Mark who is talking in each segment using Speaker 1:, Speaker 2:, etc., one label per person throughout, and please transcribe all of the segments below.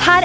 Speaker 1: her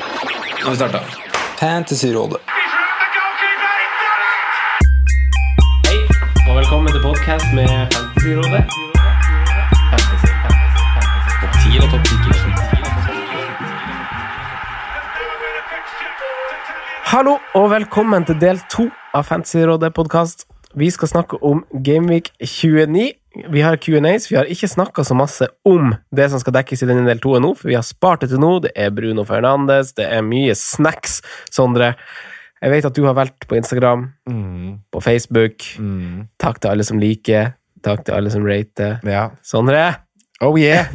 Speaker 2: Nå har vi starta. Fantasyrådet.
Speaker 3: Hei, og velkommen til podcast med Fantasyrådet. Fantasy, fantasy, fantasy. Topp 10 eller topp 10? Hallo, og velkommen til del 2 av Fantasyrådet-podkast. Vi skal snakke om Gameweek 29. Vi har Q&As. Vi har ikke snakka så masse om det som skal dekkes i denne del 2 nå, for vi har spart det til nå. Det er Bruno Fernandes, det er mye snacks, Sondre. Jeg vet at du har valgt på Instagram, på Facebook. Takk til alle som liker. Takk til alle som rater.
Speaker 4: Ja.
Speaker 3: Sondre,
Speaker 4: Oh yeah!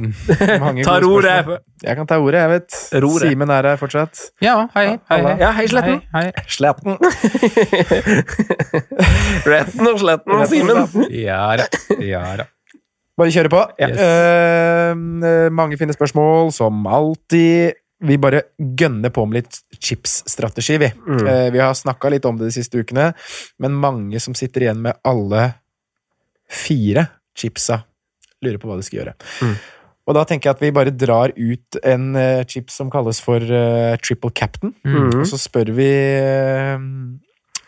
Speaker 4: Mange
Speaker 3: tar
Speaker 4: gode
Speaker 3: ordet!
Speaker 4: spørsmål. Jeg kan ta ordet, jeg vet.
Speaker 3: Roret.
Speaker 4: Simen er her fortsatt.
Speaker 2: Ja, hei. hei, hei.
Speaker 3: Ja, hei, Sletten.
Speaker 2: Hei, hei.
Speaker 4: Sletten.
Speaker 3: Retten og sletten og Simen.
Speaker 2: Ja da. Ja da.
Speaker 4: Bare kjøre på.
Speaker 3: Ja.
Speaker 4: Eh, eh, mange fine spørsmål, som alltid. Vi bare gønner på med litt chips-strategi, vi.
Speaker 3: Mm.
Speaker 4: Eh, vi har snakka litt om det de siste ukene, men mange som sitter igjen med alle fire chipsa, lurer på hva de skal gjøre.
Speaker 3: Mm.
Speaker 4: Og da tenker jeg at vi bare drar ut en eh, chips som kalles for eh, triple captain.
Speaker 3: Mm.
Speaker 4: Og så spør vi eh,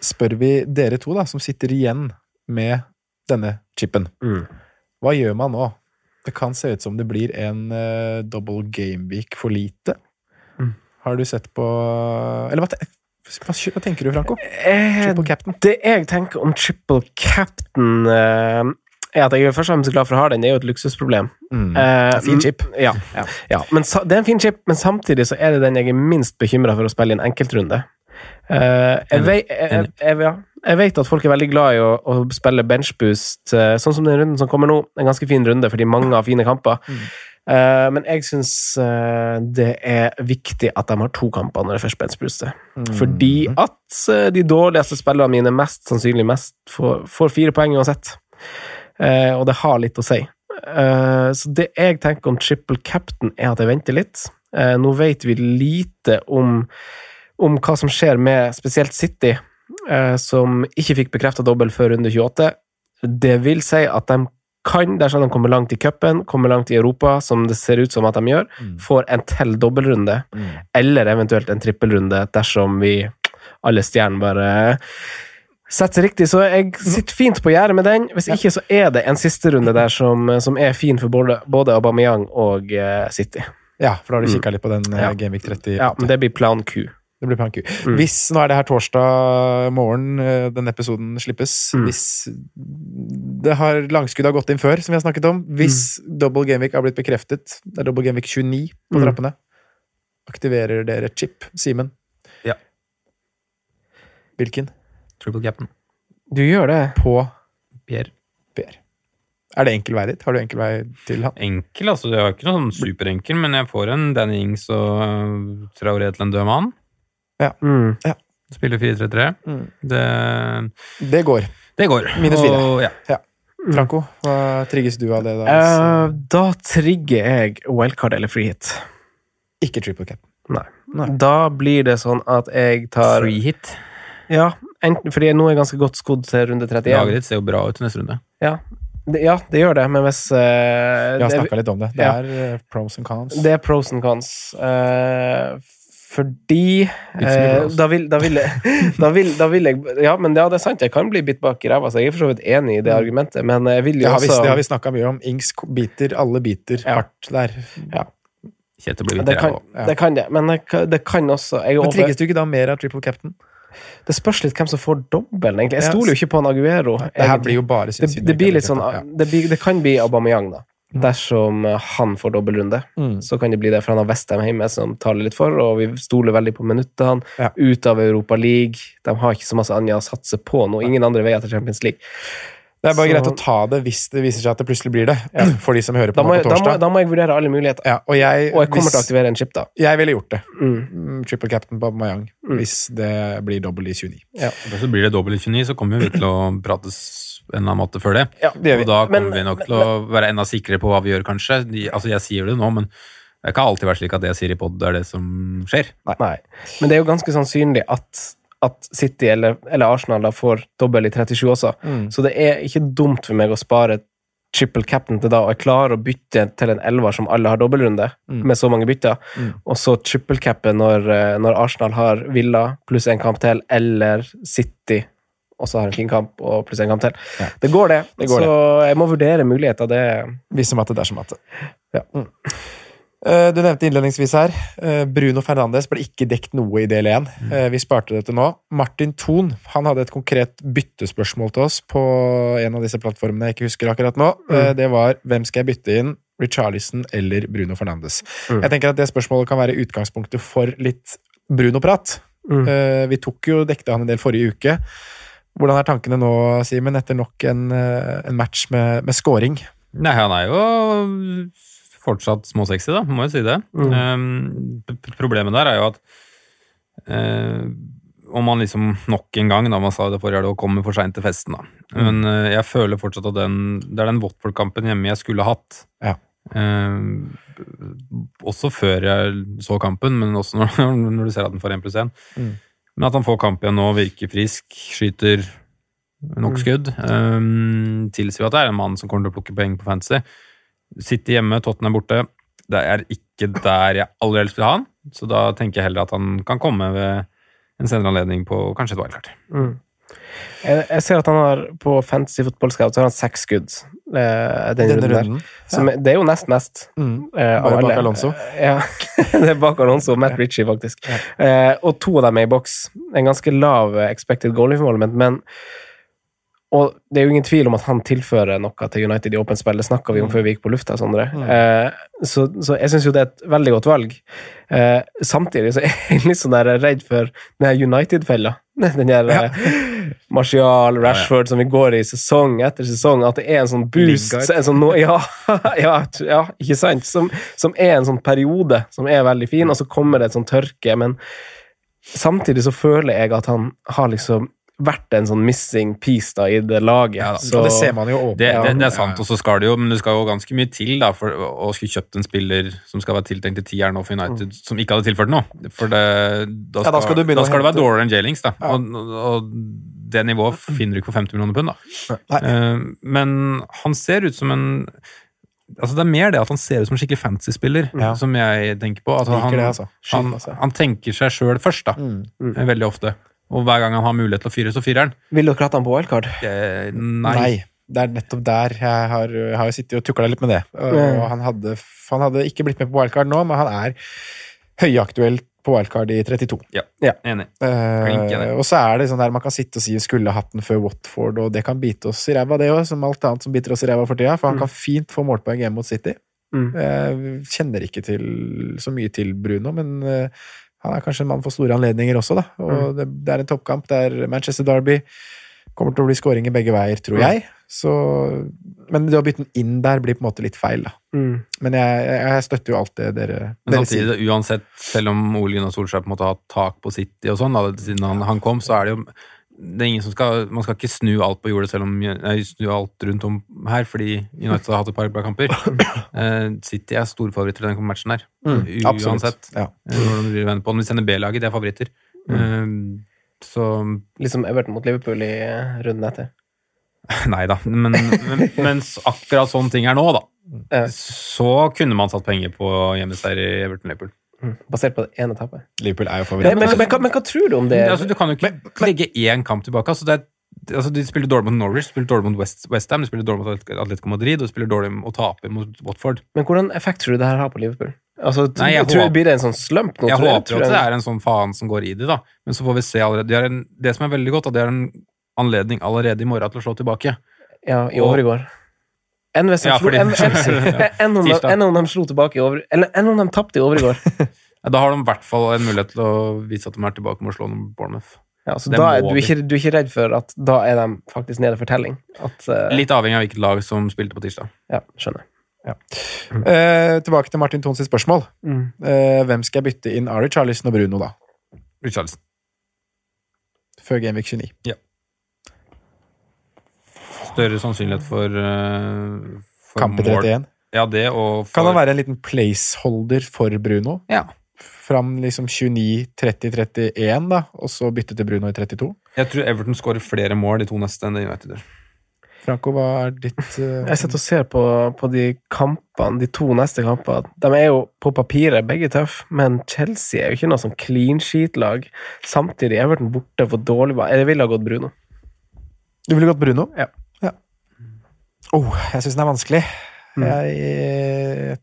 Speaker 4: Spør vi dere to, da, som sitter igjen med denne chipen.
Speaker 3: Mm.
Speaker 4: Hva gjør man nå? Det kan se ut som det blir en eh, double game week for lite.
Speaker 3: Mm.
Speaker 4: Har du sett på Eller hva, te hva, hva tenker du, Franco?
Speaker 3: Eh,
Speaker 4: Triple captain.
Speaker 3: Det jeg tenker om triple captain, eh, er at jeg er først og fremst glad for å ha den. Det er jo et luksusproblem. Eh,
Speaker 4: Mm. Fin chip.
Speaker 3: mm, Ja.
Speaker 4: Ja.
Speaker 3: ja. Men, sa- det er en fin chip, men samtidig så er det den jeg er minst bekymra for å spille i en enkeltrunde. Eh, jeg, vei, jeg, jeg, jeg, ja. jeg vet at folk er veldig glad i å, å spille benchboost, eh, sånn som den runden som kommer nå. En ganske fin runde fordi mange har fine kamper.
Speaker 4: Mm.
Speaker 3: Eh, men jeg syns eh, det er viktig at de har to kamper når det først benchbooster.
Speaker 4: Mm.
Speaker 3: Fordi at eh, de dårligste spillerne mine mest sannsynlig mest får, får fire poeng uansett. Eh, og det har litt å si. Eh, så det jeg tenker om triple captain, er at jeg venter litt. Eh, nå vet vi lite om, om hva som skjer med spesielt City, eh, som ikke fikk bekrefta dobbel før runde 28. Det vil si at de kan, dersom de kommer langt i cupen, kommer langt i Europa, som det ser ut som at de gjør, får en til dobbeltrunde, eller eventuelt en trippelrunde, dersom vi alle stjernene bare setter seg riktig. Så jeg sitter fint på gjerdet med den. Hvis ikke, så er det en siste runde der som, eh, som er fin for både, både Aubameyang og eh, City.
Speaker 4: Ja, for da har du kikka litt på den
Speaker 3: mm.
Speaker 4: eh,
Speaker 3: Ja.
Speaker 4: Game Week 30.
Speaker 3: Ja, men det blir plan Q.
Speaker 4: Det blir plan Q.
Speaker 3: Mm.
Speaker 4: Hvis nå er det her torsdag morgen eh, den episoden slippes
Speaker 3: Mm.
Speaker 4: Hvis det har langskudd har gått inn før, som vi har snakket om Hvis double gameweek har blitt bekreftet, det er double gameweek 29 på
Speaker 3: Mm.
Speaker 4: trappene Aktiverer dere chip, Simen?
Speaker 2: Ja.
Speaker 4: Hvilken?
Speaker 2: Triple captain.
Speaker 3: Du gjør det.
Speaker 4: På
Speaker 2: Pierre.
Speaker 4: Per. Er det enkel vei dit? Har du enkel vei til han?
Speaker 2: Enkel, altså. Det var ikke noe sånn superenkel, men jeg får en Danny Ings og øh, Traoré til en død mann.
Speaker 3: Mm.
Speaker 2: Spiller 4-3-3.
Speaker 4: Mm.
Speaker 2: Det,
Speaker 4: Det går.
Speaker 2: det går.
Speaker 4: Minus
Speaker 2: Og-
Speaker 4: fire.
Speaker 2: Ja.
Speaker 4: Franco, hva trigges du av det? da?
Speaker 3: Eh, da trigger jeg wildcard eller free hit.
Speaker 4: Ikke triple cap.
Speaker 3: Nei.
Speaker 4: Nei.
Speaker 3: Da blir det sånn at jeg tar
Speaker 2: Free hit.
Speaker 3: Ja, enten, fordi nå er jeg ganske godt skodd til runde 31.
Speaker 2: Laget ditt ser jo bra ut til neste runde.
Speaker 3: Ja, det, ja, det gjør det, men hvis eh,
Speaker 4: Vi har
Speaker 3: det,
Speaker 4: snakka litt om det. Det
Speaker 3: ja.
Speaker 4: er eh, pros and cons.
Speaker 3: det er pros and cons. eh, fordi
Speaker 2: Ikke så mye altså.
Speaker 3: eh,
Speaker 2: pros.
Speaker 3: da, vil, da, vil jeg, da, vil, da vil jeg Ja, men ja, det er sant, jeg kan bli bitt bak i ræva, så jeg er for så vidt enig i det argumentet, men jeg vil
Speaker 4: Mm. Det
Speaker 3: jo
Speaker 4: har vi,
Speaker 3: også
Speaker 4: det har vi snakka mye om. Ings ko- biter, alle biter
Speaker 3: Ja.
Speaker 4: hardt der.
Speaker 2: Kjetil blir
Speaker 3: det,
Speaker 2: bitter.
Speaker 3: kan,
Speaker 2: jeg også.
Speaker 4: ja.
Speaker 3: det kan det, men det kan, det kan også jeg er
Speaker 4: Men
Speaker 3: over,
Speaker 4: trigges du ikke da mer av triple captain?
Speaker 3: Det spørs litt hvem som får dobbelen, egentlig. Jeg
Speaker 4: Ja.
Speaker 3: stoler jo ikke på en Aguero.
Speaker 4: Det her
Speaker 3: egentlig.
Speaker 4: blir jo bare
Speaker 3: det,
Speaker 4: synsing.
Speaker 3: det blir litt sånn
Speaker 4: Ja.
Speaker 3: det, blir, det kan bli Aubameyang, da. Dersom eh, han får dobbeltrunde,
Speaker 4: Mm.
Speaker 3: så kan det bli det. For han har Westham hjemme, som taler litt for, og vi stoler veldig på minuttene.
Speaker 4: Ja.
Speaker 3: Ut av Europa League. De har ikke så masse annet å satse på nå. Ingen andre veier til Champions League.
Speaker 4: Det er bare
Speaker 3: Så-
Speaker 4: greit å ta det hvis det viser seg at det plutselig blir det. For de som hører på
Speaker 3: Da må,
Speaker 4: nå
Speaker 3: jeg,
Speaker 4: på
Speaker 3: da, må,
Speaker 4: torsdag.
Speaker 3: da må jeg vurdere alle muligheter.
Speaker 4: ja, og jeg,
Speaker 3: Og jeg kommer til å
Speaker 4: hvis-
Speaker 3: aktivere en chip, da.
Speaker 4: Jeg ville gjort det.
Speaker 3: Mm.
Speaker 4: Mm, Triple captain på Aubameyang hvis det blir dobbel i 29.
Speaker 2: Og Så blir det dobbelt 29, så kommer vi til å prates en eller annen måte før det.
Speaker 3: Ja,
Speaker 4: det gjør vi.
Speaker 2: Og da
Speaker 3: Men-
Speaker 2: kommer vi nok til å være enda sikrere på hva vi gjør, kanskje. De, altså, jeg sier det nå, men det har ikke alltid vært slik at det jeg sier i pod, er det som skjer.
Speaker 3: Nei. Men det er jo ganske sannsynlig at, at City eller, eller Arsenal da får dobbel i 37 også.
Speaker 4: Mm.
Speaker 3: Så det er ikke dumt for meg å spare triple cap'n til da, og jeg klarer å bytte til en elver som alle har dobbeltrunde,
Speaker 4: Mm.
Speaker 3: med så mange bytter, og så triple cap'e når, eh, når Arsenal har Villa pluss en kamp til, eller City og så har en fin kamp og pluss en kamp til. Det går, det.
Speaker 4: Det går
Speaker 3: så jeg må vurdere muligheter. Det
Speaker 4: Hvis som at det er som at det.
Speaker 3: Ja.
Speaker 4: Mm. Eh, Du nevnte innledningsvis her eh, Bruno Fernandes ble ikke dekt noe i del 1.
Speaker 3: Mm.
Speaker 4: Vi sparte det til nå. Martin Thon han hadde et konkret byttespørsmål til oss på en av disse plattformene jeg ikke husker akkurat nå.
Speaker 3: Mm.
Speaker 4: Eh, Det var hvem skal jeg bytte inn? Richarlison eller Bruno Fernandes?
Speaker 3: Mm.
Speaker 4: Jeg tenker at det spørsmålet kan være utgangspunktet for litt Bruno-prat.
Speaker 3: Mm.
Speaker 4: Eh, Vi tok jo dekte han en del forrige uke. Hvordan er tankene nå, Simen, etter nok en, eh, en match med, med scoring?
Speaker 2: Nei, han er jo fortsatt småsexy, da, må jo si det.
Speaker 4: Mm.
Speaker 2: Um, p- p- problemet der er jo at eh, om han liksom nok en gang, da man sa det forrige helg, og kommer for seint til festen, da.
Speaker 4: Mm.
Speaker 2: Men eh, jeg føler fortsatt at den, det er den Watford-kampen hjemme jeg skulle hatt.
Speaker 4: Ja.
Speaker 2: Eh, også før jeg så kampen, men også når, når du ser at den får 1 pluss 1.
Speaker 4: Mm.
Speaker 2: Men at han får kamp igjen nå, virker frisk, skyter nok skudd, um, tilsier jo at det er en mann som kommer til å plukke poeng på fantasy. Sitter hjemme, Tottenham er borte. Det er ikke der jeg aller helst vil ha han, så da tenker jeg heller at han kan komme ved en senere anledning på kanskje et wildcard.
Speaker 3: jeg, jeg ser at han har på Fantasy Football Scout så har han seks skudd. eh, denne,
Speaker 4: Denne
Speaker 3: runden der.
Speaker 4: runden.
Speaker 3: Som, er- Det er jo nest mest.
Speaker 4: Mm.
Speaker 3: eh, av
Speaker 4: Bare bak
Speaker 3: alle.
Speaker 4: Alonso.
Speaker 3: Eh, Ja, det er bak Alonso og Matt Ritchie, faktisk. Eh, og to av dem er i boks. En ganske lav eh, expected goal involvement, men og det er jo ingen tvil om at han tilfører noe til United i åpent spill. Det snakka vi
Speaker 4: Mm.
Speaker 3: om før vi gikk på lufta, Sondre. Eh, så, så jeg syns jo det er et veldig godt valg. Eh, samtidig så er jeg litt sånn der redd for den her United-fella. Den her eh, Martial, Rashford, som vi går i sesong etter sesong. At det er en sånn boost
Speaker 4: Lingard.
Speaker 3: en sånn, nå- ja, ja, t- ja, ikke sant? Som, som er en sånn periode som er veldig fin, og så kommer det et sånn tørke. Men samtidig så føler jeg at han har liksom vært en sånn missing piece da i det laget.
Speaker 2: Ja da,
Speaker 3: så,
Speaker 4: og det ser man jo åpent.
Speaker 2: Det, det, det
Speaker 4: Ja.
Speaker 2: er sant, og så skal det jo, men det skal jo ganske mye til da, for å skulle kjøpt en spiller som skal være tiltenkt til tieren nå for United, som ikke hadde tilført noe. For det, da,
Speaker 4: Mm.
Speaker 2: skal,
Speaker 4: Ja, da skal du begynne å
Speaker 2: da skal det være
Speaker 4: hente- Mm.
Speaker 2: dårligere enn J-Links, da. Og, og det nivået finner du ikke for 50 millioner pund, da.
Speaker 4: Nei.
Speaker 2: Eh, Men han ser ut som en Altså Det er mer det at han ser ut som en skikkelig fantasy-spiller,
Speaker 4: Ja.
Speaker 2: som jeg tenker på. At
Speaker 4: Liker
Speaker 2: han,
Speaker 4: det, altså. Skyt,
Speaker 2: han,
Speaker 4: altså. Mm.
Speaker 2: han tenker seg sjøl først, da. Eh, Veldig ofte. Og hver gang han har mulighet til å fyre, så fyrer han.
Speaker 3: Vil dere hatt han på wildcard?
Speaker 2: Eh,
Speaker 4: Nei.
Speaker 2: Nei.
Speaker 4: Det er nettopp der jeg har, jeg har jo sittet og tukla litt med det. Og
Speaker 3: Ja.
Speaker 4: han, hadde, han hadde ikke blitt med på wildcard nå, men han er høyaktuell på wildcard i 32.
Speaker 2: Ja.
Speaker 3: Ja.
Speaker 2: Enig. Flink,
Speaker 4: Eh,
Speaker 2: ja, det.
Speaker 4: og så er det sånn der man kan sitte og si 'skulle hatt den før Watford', og det kan bite oss i ræva, det òg, som alt annet som biter oss i ræva for tida. For han kan fint få målpoeng hjemme mot City.
Speaker 3: Mm.
Speaker 4: Eh, kjenner ikke til, så mye til Bruno, men eh, han er kanskje en mann for store anledninger også, da.
Speaker 3: Mm.
Speaker 4: Og det, det er en toppkamp der Manchester Derby kommer til å bli skåringer begge veier, tror jeg. Så, men det å bytte den inn der blir på en måte litt feil, da.
Speaker 3: Mm.
Speaker 4: Men jeg, jeg støtter jo alt det dere,
Speaker 2: Men
Speaker 4: dere sier.
Speaker 2: samtidig, uansett, selv om Ole Gunnar Solskjær på en måte har hatt tak på City og sånn, da, siden han, han kom, så er det jo det er ingen som skal, Man skal ikke snu alt på jordet selv om, nei, snu alt rundt om her, fordi United har hatt et par bra kamper. Eh, City er storfavoritter i den matchen her.
Speaker 4: Mm,
Speaker 2: uansett.
Speaker 4: Absolutt. Ja. Mm.
Speaker 2: eh, hvordan du vender på den. Hvis sender B-laget, de er favoritter. Eh, så
Speaker 3: Litt som Everton mot Liverpool i eh, runden etter.
Speaker 2: Nei da. Men, men, mens akkurat sånn ting er nå, da,
Speaker 3: Eh,
Speaker 2: så kunne man satt penger på hjemmeseier i Everton Liverpool.
Speaker 3: basert på én etappe.
Speaker 4: Liverpool er jo
Speaker 3: Men,
Speaker 4: favoritt.
Speaker 3: men, men, hva- men hva tror du om det?
Speaker 2: Men, altså, du kan jo ikke legge én kamp tilbake. Altså, det er, altså, de spiller dårlig mot Norwich, de spiller dårlig mot West, West Ham, de spiller dårlig mot Atletico Madrid og de spiller dårlig mot å tape mot Watford.
Speaker 3: Men hvordan effekt tror du det her har på Liverpool? Altså,
Speaker 2: Nei, jeg
Speaker 3: tror,
Speaker 2: håper-
Speaker 3: blir det en sånn slump nå?
Speaker 2: Jeg
Speaker 3: tror
Speaker 2: håper jo
Speaker 3: tror
Speaker 2: at det er en sånn faen som går i de, da. Men så får vi se allerede. De har en, det som er veldig godt, er at de har en anledning allerede i morgen til å slå tilbake.
Speaker 3: Ja, i overgår. Enn hvis de
Speaker 2: Ja,
Speaker 3: slo-
Speaker 2: fordi-
Speaker 3: enn- enn-
Speaker 2: Ja,
Speaker 3: enn om de-
Speaker 2: tirsdag.
Speaker 3: enn om de slo tilbake i over... Eller enn om de tapte i overgår.
Speaker 2: Da har de i hvert fall en mulighet til å vise at de er tilbake med å slå noen Bournemouth.
Speaker 3: Ja, så
Speaker 2: Det
Speaker 3: da er
Speaker 2: må
Speaker 3: du,
Speaker 2: de.
Speaker 3: ikke, du er ikke redd for at da er de faktisk nede for telling? At, eh,
Speaker 2: Litt avhengig av hvilket lag som spilte på tirsdag.
Speaker 3: ja, skjønner.
Speaker 4: Eh, tilbake til Martin Thons spørsmål.
Speaker 3: Mm.
Speaker 4: Eh, hvem skal jeg bytte inn Ari Charlison og Bruno, da?
Speaker 2: Richarlison.
Speaker 4: Før Genvik 29.
Speaker 2: Større sannsynlighet for, eh, for
Speaker 4: Kamp i
Speaker 2: mål.
Speaker 4: 31.
Speaker 2: Ja, det og for
Speaker 4: Kan han være en liten placeholder for Bruno?
Speaker 2: Ja.
Speaker 4: Fram liksom 29, 30, 31, da, og så bytte til Bruno i 32?
Speaker 2: Jeg tror Everton skårer flere mål de to neste enn det United gjør.
Speaker 4: Franco, hva er ditt eh,
Speaker 3: Jeg sitter og ser på, på de kampene, de to neste kampene. De er jo på papiret begge tøff, men Chelsea er jo ikke noe sånn clean sheet-lag. Samtidig er Everton borte for dårlig ba- Eller ville ha gått Bruno.
Speaker 4: Du ville gått Bruno?
Speaker 3: Ja.
Speaker 4: ja. Oh, jeg syns den er vanskelig. Jeg eh,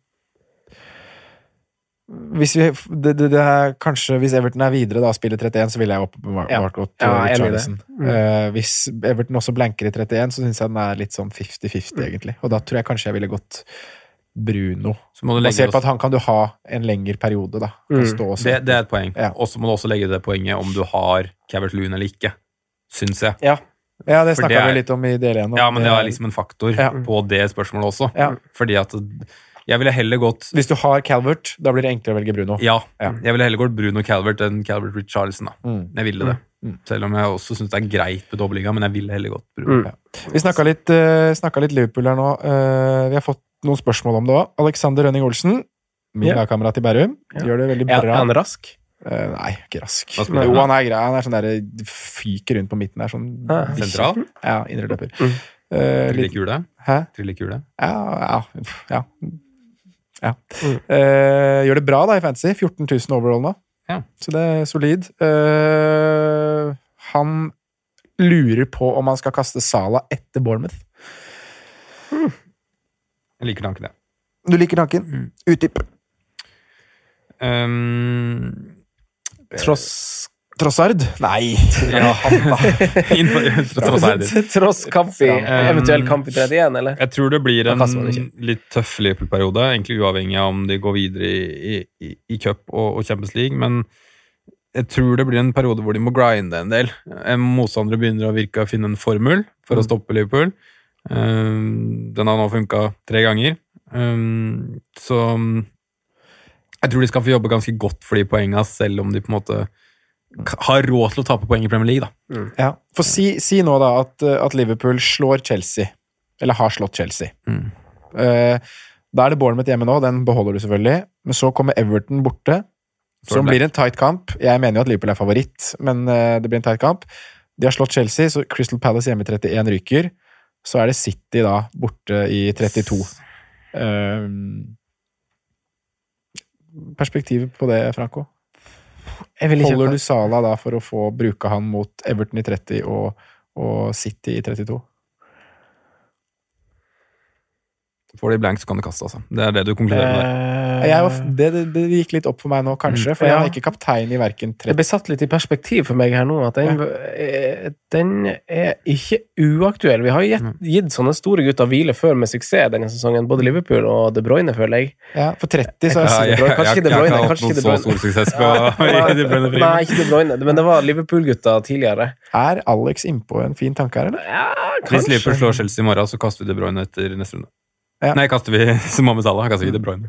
Speaker 4: hvis, vi, det, det, det er kanskje, hvis Everton er videre da, og spiller 31, så ville jeg åpenbart
Speaker 3: Ja.
Speaker 4: gått
Speaker 3: Ja, jeg er enig i det.
Speaker 4: Charlison. Eh, hvis Everton også blanker i 31, så syns jeg den er litt sånn 50-50, egentlig. Og da tror jeg kanskje jeg ville gått Bruno.
Speaker 2: Så må du legge
Speaker 4: Basert på at han kan du ha en lengre periode, da. Kan
Speaker 3: Mm.
Speaker 4: stå også.
Speaker 2: det, det er et poeng.
Speaker 4: Ja.
Speaker 2: Og så må du også legge det poenget om du har Cavert Loon eller ikke, syns jeg.
Speaker 3: Ja.
Speaker 4: ja, det
Speaker 2: for
Speaker 4: snakka
Speaker 2: det er-
Speaker 4: vi litt om i del Eh, 1.
Speaker 2: Ja, men det er liksom en faktor
Speaker 4: Ja.
Speaker 2: på det spørsmålet også.
Speaker 4: Ja.
Speaker 2: Fordi at jeg ville heller gått
Speaker 4: Hvis du har Calvert, da blir det enklere å velge Bruno.
Speaker 2: ja,
Speaker 4: Ja.
Speaker 2: jeg ville heller gått Bruno Calvert enn Calvert Richarlison. Da.
Speaker 4: Mm.
Speaker 2: Jeg ville det. Selv om jeg også syns det er greit med doblinger, men jeg ville heller gått Bruno.
Speaker 3: Mm.
Speaker 4: Vi snakka litt, eh, snakket litt Liverpool her nå. Eh, vi har fått noen spørsmål om det òg. Alexander Rønning Olsen, min
Speaker 3: Ja.
Speaker 4: lagkamerat i Bærum,
Speaker 3: Ja.
Speaker 4: gjør det veldig
Speaker 3: Er, er Altså,
Speaker 4: bra.
Speaker 3: han rask?
Speaker 4: Eh, nei, ikke rask.
Speaker 2: Hva spiller
Speaker 4: Jo,
Speaker 2: han da?
Speaker 4: han er grei. Han er sånn der, fyker rundt på midten her. Sånn,
Speaker 3: Ja.
Speaker 2: Sentral.
Speaker 4: ja, indreløper.
Speaker 3: Mm.
Speaker 4: Eh, litt,
Speaker 2: Trillekule.
Speaker 4: hæ?
Speaker 2: Trillekule.
Speaker 4: Ja, ja. pff, ja. ja.
Speaker 3: Mm.
Speaker 4: Eh, gjør det bra da i fantasy. 14 000 overall nå.
Speaker 2: Ja.
Speaker 4: Så det er solid. Eh, han lurer på om han skal kaste Sala etter Bournemouth.
Speaker 2: Jeg liker tanken, jeg.
Speaker 4: Du liker tanken?
Speaker 3: Mm.
Speaker 4: Utdyp.
Speaker 2: Um,
Speaker 3: Tross,
Speaker 4: Trossard? Nei.
Speaker 2: ja, han, da. Innenfor- tross alt.
Speaker 3: tross kamp i
Speaker 2: Ja.
Speaker 3: eventuell kamp i 31, eller?
Speaker 2: Jeg tror det blir en
Speaker 3: Da kaster man det ikke.
Speaker 2: litt tøff Liverpool-periode, egentlig uavhengig av om de går videre i, i, i- i cup og, og Champions League, men jeg tror det blir en periode hvor de må grinde en del. Eh, Motstandere begynner å virke å finne en formel for
Speaker 3: Mm.
Speaker 2: å stoppe Liverpool. Um, den har nå funka tre ganger. Um, så um, jeg tror de skal få jobbe ganske godt for de poengene, selv om de på en måte k- har råd til å tape poeng i Premier League, da.
Speaker 4: Ja. For si, si nå da at, eh, at Liverpool slår Chelsea, eller har slått Chelsea.
Speaker 2: Mm.
Speaker 4: Eh, da er det Bournemouth hjemme nå, den beholder du selvfølgelig. Men så kommer Everton borte,
Speaker 2: Så
Speaker 4: som
Speaker 2: det-
Speaker 4: blir en tight kamp. Jeg mener jo at Liverpool er favoritt, men eh, det blir en tight kamp. De har slått Chelsea, så Crystal Palace hjemme i 31 ryker. Så er det City da borte i 32. Eh, perspektivet på det, Franco?
Speaker 3: Jeg vil
Speaker 4: Holder du Sala da for å få bruke han mot Everton i 30 og, og City i 32?
Speaker 2: Får de blank, så kan de kaste, altså. Det er det du konkluderer med. der.
Speaker 3: Eh,
Speaker 4: Jeg var, det, det, det gikk litt opp for meg nå, kanskje, for
Speaker 3: Mm, Ja.
Speaker 4: han er ikke kaptein i verken
Speaker 3: Det
Speaker 4: 30
Speaker 3: ble satt litt i perspektiv for meg her nå, at den, eh, den er ikke uaktuell. Vi har jo gitt, gitt sånne store gutter hvile før med suksess denne sesongen, både Liverpool og De Bruyne, føler jeg.
Speaker 4: ja, For 30 så
Speaker 3: Ja,
Speaker 4: er
Speaker 3: Kanskje De Bruyne, kanskje ikke
Speaker 2: jeg, jeg,
Speaker 3: De
Speaker 2: jeg,
Speaker 3: Bruyne,
Speaker 2: har ikke
Speaker 3: kanskje
Speaker 2: hatt
Speaker 3: ikke
Speaker 2: noen så
Speaker 3: De
Speaker 2: stor suksess på i De Bruyne Frim.
Speaker 3: Nei, ikke De Bruyne, men det var Liverpool-gutta tidligere.
Speaker 4: Er Alex innpå en fin tanke her, eller?
Speaker 3: Ja,
Speaker 2: Hvis Liverpool
Speaker 3: kanskje.
Speaker 2: slår Chelsea i morgen, så kaster vi De Bruyne etter neste runde.
Speaker 4: Ja.
Speaker 2: Nei, kaster vi Mohammed Salah, kaster vi De Bruyne.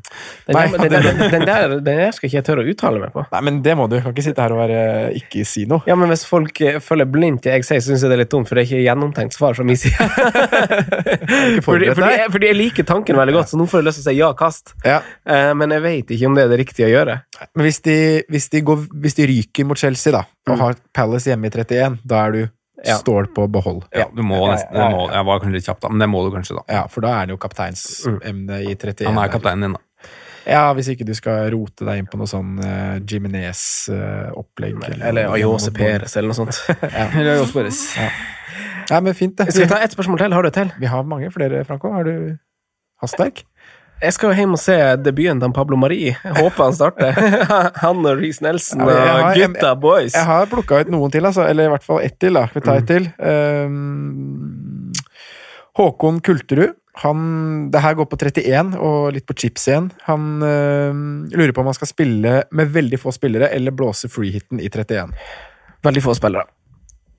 Speaker 3: Den der,
Speaker 4: Nei,
Speaker 3: den, der, den, der, den der skal ikke jeg tørre å uttale meg på.
Speaker 4: Nei, men det må du. Kan ikke sitte her og være, ikke si noe.
Speaker 3: Ja, men Hvis folk eh, følger blindt det jeg sier, syns jeg det er litt dumt, for det er ikke gjennomtenkt svar fra min side. fordi,
Speaker 4: forberedt
Speaker 3: fordi,
Speaker 4: deg?
Speaker 3: jeg, fordi jeg liker tanken veldig godt, så nå får jeg lyst til å si ja, kast.
Speaker 4: Ja.
Speaker 3: Eh, men jeg vet ikke om det er det riktige å gjøre.
Speaker 4: Men hvis de, hvis, de går, hvis de ryker mot Chelsea, da, og har Palace hjemme i 31, da er du
Speaker 3: Ja.
Speaker 4: stål på behold.
Speaker 2: Ja, du må nesten, jeg, må, jeg var kanskje litt kjapp, da, men det må du kanskje, da.
Speaker 4: Ja, for da er det jo kapteinsemne i 31.
Speaker 2: Han er
Speaker 4: der.
Speaker 2: kapteinen din, da.
Speaker 4: Ja, hvis ikke du skal rote deg inn på noe sånn uh, Jiminez-opplegg.
Speaker 3: Eller Ayose Peres, eller noe sånt.
Speaker 2: Eller Jos Perez.
Speaker 4: Nei, men fint, det.
Speaker 3: Skal vi ta ett spørsmål til? Har du et til?
Speaker 4: Vi har mange flere, Franco. Har du hastverk?
Speaker 3: Jeg skal jo hjem og se debuten til Pablo Marie. Jeg håper han starter. han og Reece Nelson
Speaker 4: Ja,
Speaker 3: og
Speaker 4: men jeg har-
Speaker 3: gutta boys.
Speaker 4: Jeg har plukka ut noen til, altså. Eller i hvert fall ett til. da. Skal vi ta ett
Speaker 3: Mm.
Speaker 4: til? Ehm, Håkon Kulterud. Han, det her går på 31 og litt på chips igjen. Han ehm, lurer på om han skal spille med veldig få spillere eller blåse freehiten i 31.
Speaker 3: Veldig få spillere.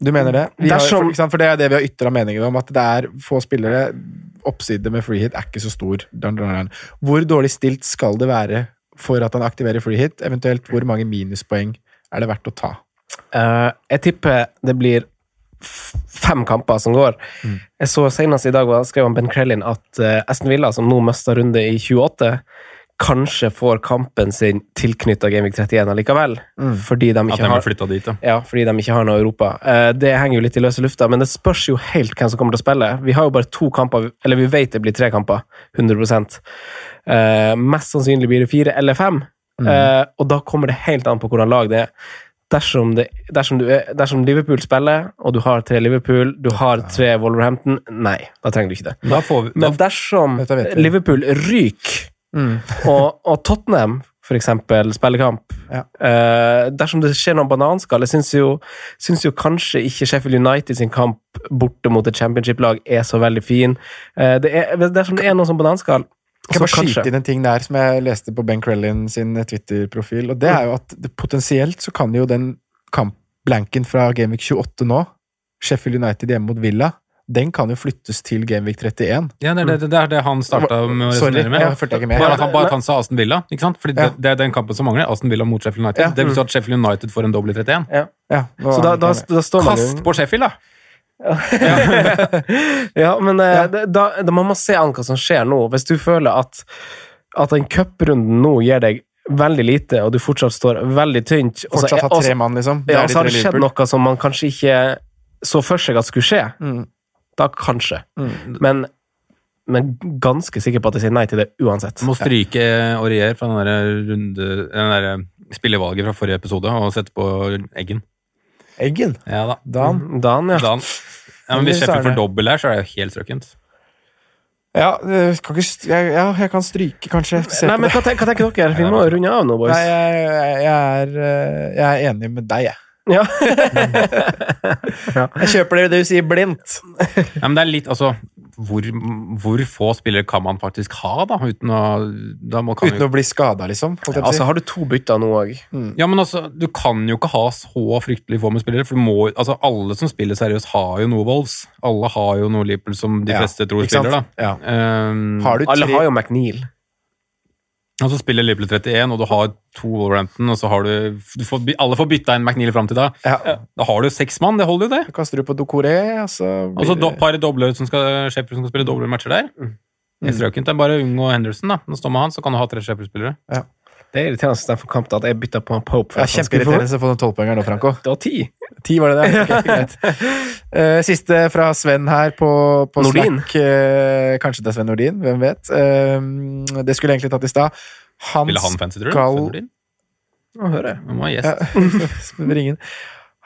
Speaker 4: Du mener det? Vi har,
Speaker 3: Dersom-
Speaker 4: for, ikke sant? for det er det vi har ytra meninger om, at det er få spillere. Oppside med freehit er ikke så stor. Dun, dun, dun. Hvor dårlig stilt skal det være for at han aktiverer freehit? Eventuelt hvor mange minuspoeng er det verdt å ta?
Speaker 3: Eh, jeg tipper det blir f- fem kamper som går. Jeg så senest i dag var- skrev han Ben Krellin at eh, Aston Villa, som nå mista runde i 28, kanskje får kampen sin tilknytta Gamevik 31 allikevel. Fordi de
Speaker 2: At
Speaker 3: ikke
Speaker 2: de
Speaker 3: har
Speaker 2: har flytta dit, ja.
Speaker 3: ja, fordi de ikke har noe Europa. Eh, Det henger jo litt i løse lufta, men det spørs jo helt hvem som kommer til å spille. Vi har jo bare to kamper, eller vi vet det blir tre kamper, 100 Eh, Mest sannsynlig blir det fire eller fem, Eh, og da kommer det helt an på hvordan lag det er. Dersom, det, dersom, du er, dersom Liverpool spiller, og du har tre Liverpool, du har tre Wolverhampton Nei, da trenger du ikke det.
Speaker 2: Da får vi, da,
Speaker 3: Men dersom
Speaker 4: Dette vet vi. Mm.
Speaker 3: Liverpool ryker, og, og Tottenham for eksempel spillekamp
Speaker 4: Ja.
Speaker 3: eh, Dersom det skjer noen bananskall Jeg syns jo, syns jo kanskje ikke Sheffield United sin kamp borte mot et championship-lag er så veldig fin. Eh, det er, dersom det er noe sånn bananskall, så
Speaker 4: Kan jeg bare skyte
Speaker 3: kanskje
Speaker 4: inn en ting der som jeg leste på Ben Krellin sin Twitter-profil, og det er jo at det, potensielt så kan jo den kampblanken fra Gamevik 28 nå, Sheffield United hjemme mot Villa, den kan jo flyttes til Gamevik 31.
Speaker 2: ja, det, er det, det er det han starta med å
Speaker 4: Sorry,
Speaker 2: resonnere med.
Speaker 4: jeg fulgte ikke med.
Speaker 2: Bare at han, bare at han sa Aston Villa. ikke sant? Fordi
Speaker 4: Ja.
Speaker 2: det, det er den kampen som mangler. Aston Villa mot Sheffield United.
Speaker 4: Ja.
Speaker 2: Det vil si at Sheffield United får en dobbel i 31.
Speaker 4: Ja, nå
Speaker 3: Så
Speaker 4: er
Speaker 3: da,
Speaker 4: den
Speaker 3: da,
Speaker 4: klar.
Speaker 3: da står man jo
Speaker 2: Kast på Sheffield, da!
Speaker 3: Ja, men eh, det- Da, da må man se an hva som skjer nå. Hvis du føler at, at den cuprunden nå gir deg veldig lite, og du fortsatt står veldig tynt og så er-
Speaker 4: Fortsatt ha
Speaker 3: og så-
Speaker 4: tre mann, liksom. Det
Speaker 3: Ja,
Speaker 4: er
Speaker 3: og
Speaker 4: de
Speaker 3: så har
Speaker 4: tre
Speaker 3: det skjedd
Speaker 4: Liverpool.
Speaker 3: noe som man kanskje ikke så for seg at skulle skje.
Speaker 4: Mm.
Speaker 3: Da kanskje.
Speaker 4: Mm.
Speaker 3: Men, men ganske sikker på at jeg sier nei til det uansett.
Speaker 2: Må stryke Aurier fra den der runde, den der eh, spillevalget fra forrige episode og sette på Eggen.
Speaker 4: Eggen.
Speaker 2: Ja da.
Speaker 4: Dan.
Speaker 3: Dan, ja.
Speaker 2: Dan. Ja, men
Speaker 4: Men
Speaker 2: Hvis
Speaker 4: det
Speaker 2: Sheffield
Speaker 4: er det.
Speaker 2: får dobbel her, så er det jo helt strøkent.
Speaker 4: Ja, eh, kan ikke, st- jeg, ja, jeg kan stryke, kanskje. Se
Speaker 3: Nei,
Speaker 4: på
Speaker 3: men
Speaker 4: det.
Speaker 3: hva, ten- hva tenker dere? Vi må runde av nå, boys.
Speaker 4: Nei, jeg, jeg, jeg, er, eh, jeg er enig med deg, jeg.
Speaker 3: Ja.
Speaker 4: Jeg kjøper det du sier blindt.
Speaker 2: Ja, men det er litt, altså, hvor, hvor få spillere kan man faktisk ha, da? Uten å, da må, kan
Speaker 4: Uten å bli skada, liksom. holdt jeg på å si.
Speaker 3: Altså, har du to bytter nå òg?
Speaker 2: jo, ja, men altså, Du kan jo ikke ha så fryktelig få med spillere. for du må, altså, Alle som spiller seriøst, har jo noe Wolves. Alle har jo noe Liverpool som de
Speaker 4: Ja,
Speaker 2: fleste tror
Speaker 4: ikke sant?
Speaker 2: spiller. da.
Speaker 4: Ja.
Speaker 2: Um,
Speaker 4: Har du
Speaker 3: Alle
Speaker 4: tre-
Speaker 3: har jo McNeil.
Speaker 2: Og så spiller Liverpool 31, og du har to Wolverhampton, og så har du, du får, by- Alle får bytta inn McNeil fram til da.
Speaker 4: Ja.
Speaker 2: Da har du seks mann, det holder jo det.
Speaker 4: Så kaster du på altså, Dokoré, og så
Speaker 2: Og så do, par doble som skal, Sheffield som skal spille doble matcher der.
Speaker 3: Mm.
Speaker 2: Helt strøkent. Det er bare Ung og Henderson, da. Nå står med han, så kan du ha tre Sheffield-spillere.
Speaker 3: Det er irriterende at Steffen Kamp da, at jeg bytta på Pope.
Speaker 4: ja,
Speaker 3: at han skulle få-
Speaker 4: Kjempeirriterende å få den tolvpoengeren nå, Franco.
Speaker 3: Det var ti.
Speaker 4: Ti var det der. Ok, greit. Eh, siste fra Sven her på, på
Speaker 3: Nordin.
Speaker 4: Slack. Eh, kanskje det er Sven Nordin, hvem vet. Eh, det skulle jeg egentlig tatt i stad. Han
Speaker 2: Ville han fancy, tror du?
Speaker 4: skal-
Speaker 2: Fenordin?
Speaker 3: Nå hører jeg.
Speaker 2: Han var gjest.
Speaker 4: Ja, Sven Ringen.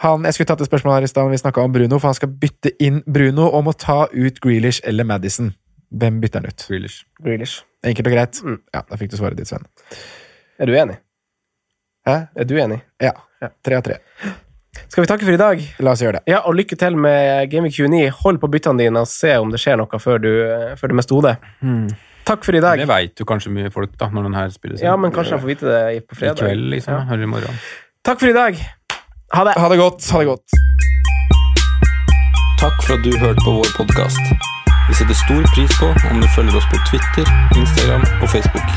Speaker 4: Han, jeg skulle tatt et spørsmål her i stad når vi snakket om Bruno, for han skal bytte inn Bruno og må ta ut Grealish eller Madison. Hvem bytter han ut?
Speaker 2: Grealish.
Speaker 3: Grealish.
Speaker 4: Enkelt og greit.
Speaker 3: Mm.
Speaker 4: Ja, Da fikk du svaret ditt, Sven.
Speaker 3: Er du enig?
Speaker 4: Hæ?
Speaker 3: Er du enig?
Speaker 4: Ja. Tre av tre.
Speaker 3: Skal vi takke for i dag?
Speaker 4: La oss gjøre det.
Speaker 3: Ja, og lykke til med Gaming 29. Hold på byttene dine og se om det skjer noe før du, før du mister hodet. Takk for i dag.
Speaker 2: Hmm. Det veit jo kanskje mye folk, da, når den her spilles inn.
Speaker 3: Ja, men kanskje han får vite det på
Speaker 2: I
Speaker 3: fredag.
Speaker 2: kveld, liksom.
Speaker 3: Ja.
Speaker 2: Eller i morgen.
Speaker 3: Takk for i dag. Ha det.
Speaker 4: Ha det godt. Ha det godt.
Speaker 5: Takk for at du hørte på vår podkast. Vi setter stor pris på om du følger oss på Twitter, Instagram og Facebook.